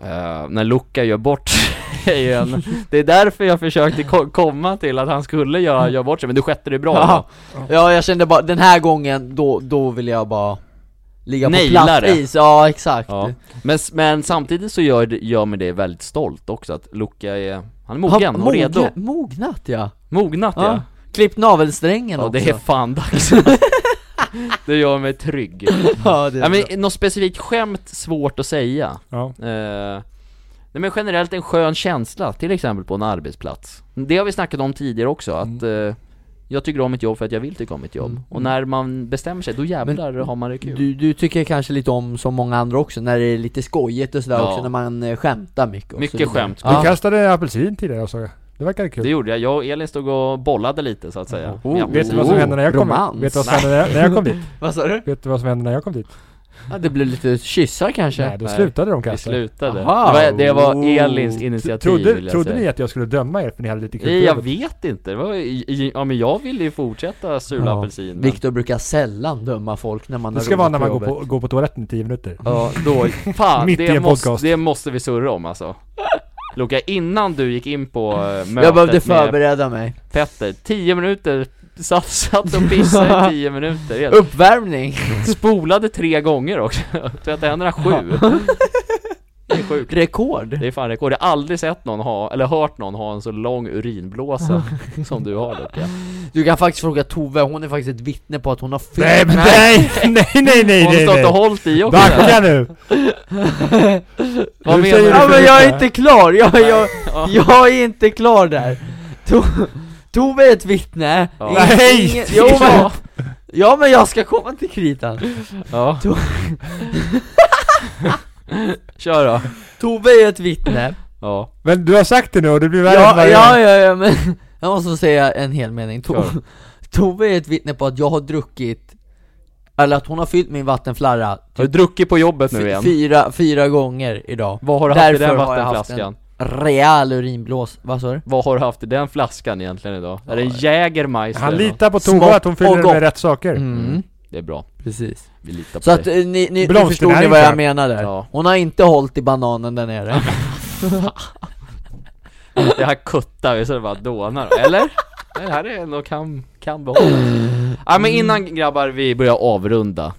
Eh, När Luca gör bort sig igen Det är därför jag försökte ko- komma till att han skulle göra, göra bort sig, men du skötte det bra ja. då. ja jag kände bara, den här gången då, då vill jag bara Ligga på Naila platt det. is, ja exakt ja. men, s- men samtidigt så gör, det- gör mig det väldigt stolt också att Luca är, han är mogen och mognat- redo Mognat ja! Mognat ja, ja. Klippt navelsträngen ja också det är fan dags Det gör mig trygg Ja det är Ja, bra. men något specifikt skämt, svårt att säga. Ja. Eh, nej, men generellt en skön känsla, till exempel på en arbetsplats. Det har vi snackat om tidigare också, att Mm. eh, jag tycker om mitt jobb för att jag vill tycka om mitt jobb. Mm. Och när man bestämmer sig, då jävlar har man det kul. Du, du tycker kanske lite om som många andra också, när det är lite skojigt och sådär Ja. också, när man eh, skämtar mycket och Mycket så vidare. skämt. Du Ja. kastade apelsin tidigare och så. Det verkade kul. Ah. Det gjorde jag, jag och Elin stod och bollade lite så att säga. Oh, Vet du vad som Oh, hände när jag kom romans. dit? Vet du vad som hände när jag, när jag kom dit? Vad sa du? Vet du vad som hände när jag kom dit? Ja, det blev lite kyssar kanske? Nej, då nej. slutade de Vi kasta. slutade. Aha. Det, var, det var Oh. Elins initiativ vill Trodde, jag trodde säga. ni att jag skulle döma er för ni hade lite kul Nej, på jag jobbet? vet inte, det var, i- i- ja men jag ville ju fortsätta sula Ja. apelsin men... Viktor brukar sällan döma folk när man Det har ska roligt vara när man går jobbet. på, går på toaletten i 10 minuter. Ja, då, fan, Mitt i det, en måste, podcast. det måste vi surra om alltså Luka, innan du gick in på eh, mötet Jag behövde med förbereda mig Petter, 10 minuter, satt, satt och pissade i 10 minuter helt. Uppvärmning! Spolade tre gånger också, tvättade händerna sju Det är sjukt Rekord! det är fan rekord, jag har aldrig sett någon ha, eller hört någon ha en så lång urinblåsa som du har Luka Du kan faktiskt fråga Tove, hon är faktiskt ett vittne på att hon har fyllt Nej, men nej, nej, nej, nej, Har du nej, stått och nej. hållit i också? Backa nu! Vad Du menar säger du? Ja men jag är inte klar, jag, jag, Ja. jag är inte klar där To- Tove är ett vittne Ja. Ingen- Nej! ingen- jo, men, Ja men jag ska komma till kritan Ja. To- Kör då Tove är ett vittne Ja, Men du har sagt det nu och det blir värre än ja, varje ja, gång. ja, ja, men jag måste säga en hel mening. To Kör. Tove är ett vittne på att jag har druckit, eller att hon har fyllt min vattenflarra har du typ druckit på jobbet nu fy- igen? fyra, fyra gånger idag. Vad har du haft i den Därför har jag haft vattenflaskan? Rejäl urinblås, vad sa du? Vad har du haft i den flaskan egentligen idag? Är det en Jägermeister? Han eller nåt? litar på Smått Tova att hon fyller och den gott. med rätt saker. Mm. Det är bra, Precis vi litar på Så att eh, dig. ni, ni, ni Blomsterna förstod är ni vad inte jag här. menar där? Ja. Hon har inte hållit i bananen där nere Det här kuttar vi så det bara dånar, eller? Nej, Det här är ändå kan, kan behållas Ja men innan grabbar vi börjar avrunda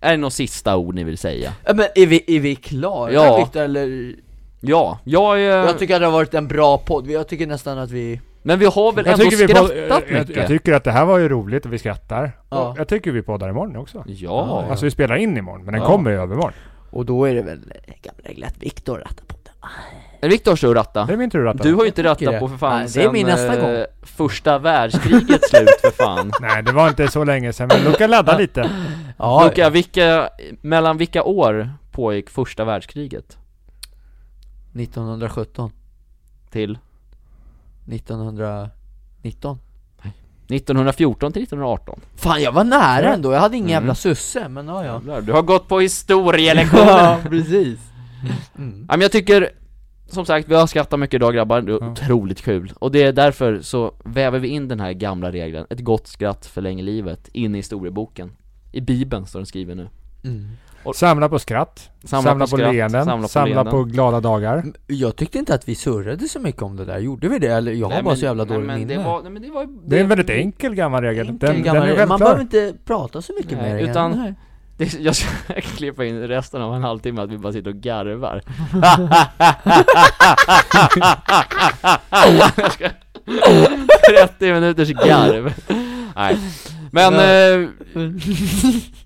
Är det något sista ord ni vill säga? Ja, Men är vi, är vi klara Ja. Victor, eller? Ja, jag eh, är... Jag tycker att det har varit en bra podd, jag tycker nästan att vi Men vi har väl Jag ändå tycker, vi skrattat podd, jag, jag, mycket? jag tycker att det här var ju roligt och vi skrattar. Ja. Och Jag tycker vi poddar imorgon också. ja, Alltså vi spelar in imorgon, men den Ja. kommer ju övermorgon. Och då är det väl eh, gamla lätt Viktor rattar podden ja. Eh, Viktor kör ratta Det är min tur att ratta. Du har ju inte Jag tycker rattat det. på för fan Nej, det är min nästa eh, gång. första världskrigets slut för fan Nej, det var inte så länge sedan, men Luka ladda lite. Ja, Luka, vilka, mellan vilka år pågick första världskriget? 1917 Till? 1919 1914 till 1918 Fan jag var nära Ja. ändå, jag hade ingen Mm. jävla susse men ja ja Jävlar, Du har gått på historielektioner! Ja precis mm. Ja, men jag tycker, som sagt, vi har skrattat mycket idag grabbar, det är Ja. otroligt kul. Och det är därför så väver vi in den här gamla regeln, ett gott skratt förlänger livet, in i historieboken. I bibeln står den skriven nu. Mm. Samla på skratt, samla, på, skratt, leenden, samla, på, glada dagar. Jag tyckte inte att vi surrade så mycket om det där, gjorde vi det? Eller jag har Nej, bara men- så jävla nej, dåligt men minne det var, nej, men det var Det är en väldigt enkel gammal regel. Enkel den, gammal den är regel. Man behöver självklar. inte prata så mycket Nej, mer igen. utan- Nej. Det, jag ska klippa in resten av en halvtimme att vi bara sitter och garvar Jag ska- 30 minuters garv Nej Men, eh,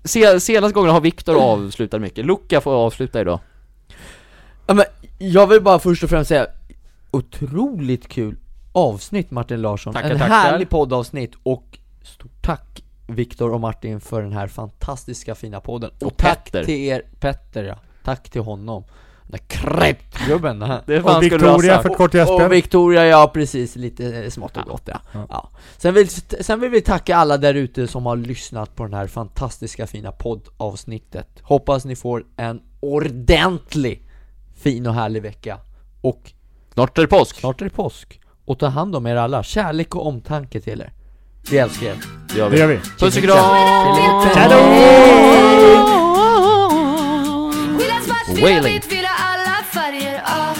se, senaste gången har Viktor avslutat mycket, Luca får avsluta idag Ja, men jag vill bara först och främst säga, otroligt kul avsnitt Martin Larsson. Tackar, en tackar. härlig poddavsnitt och stort tack Viktor och Martin för den här fantastiska fina podden. Och, Och tack Petter. till er, Petter ja. Tack till honom. Den där kräftgubben. den här. Det Och skulle du ha Victoria sagt. för kort Och, och gästspel. Victoria, ja precis, lite eh, smått och gott ja. Ja. ja. Sen, vill, sen vill vi tacka alla där ute som har lyssnat på den här fantastiska fina poddavsnittet. Hoppas ni får en ordentlig fin och härlig vecka. Och Snart är det påsk, snart är det påsk. Och ta hand om er alla. Kärlek och omtanke till er. Vi älskar er. det gör Det vi gör vi. Puss och kram! Vill ha svart, vill ha Wailing. vitt, vill ha alla färger ah, Ah,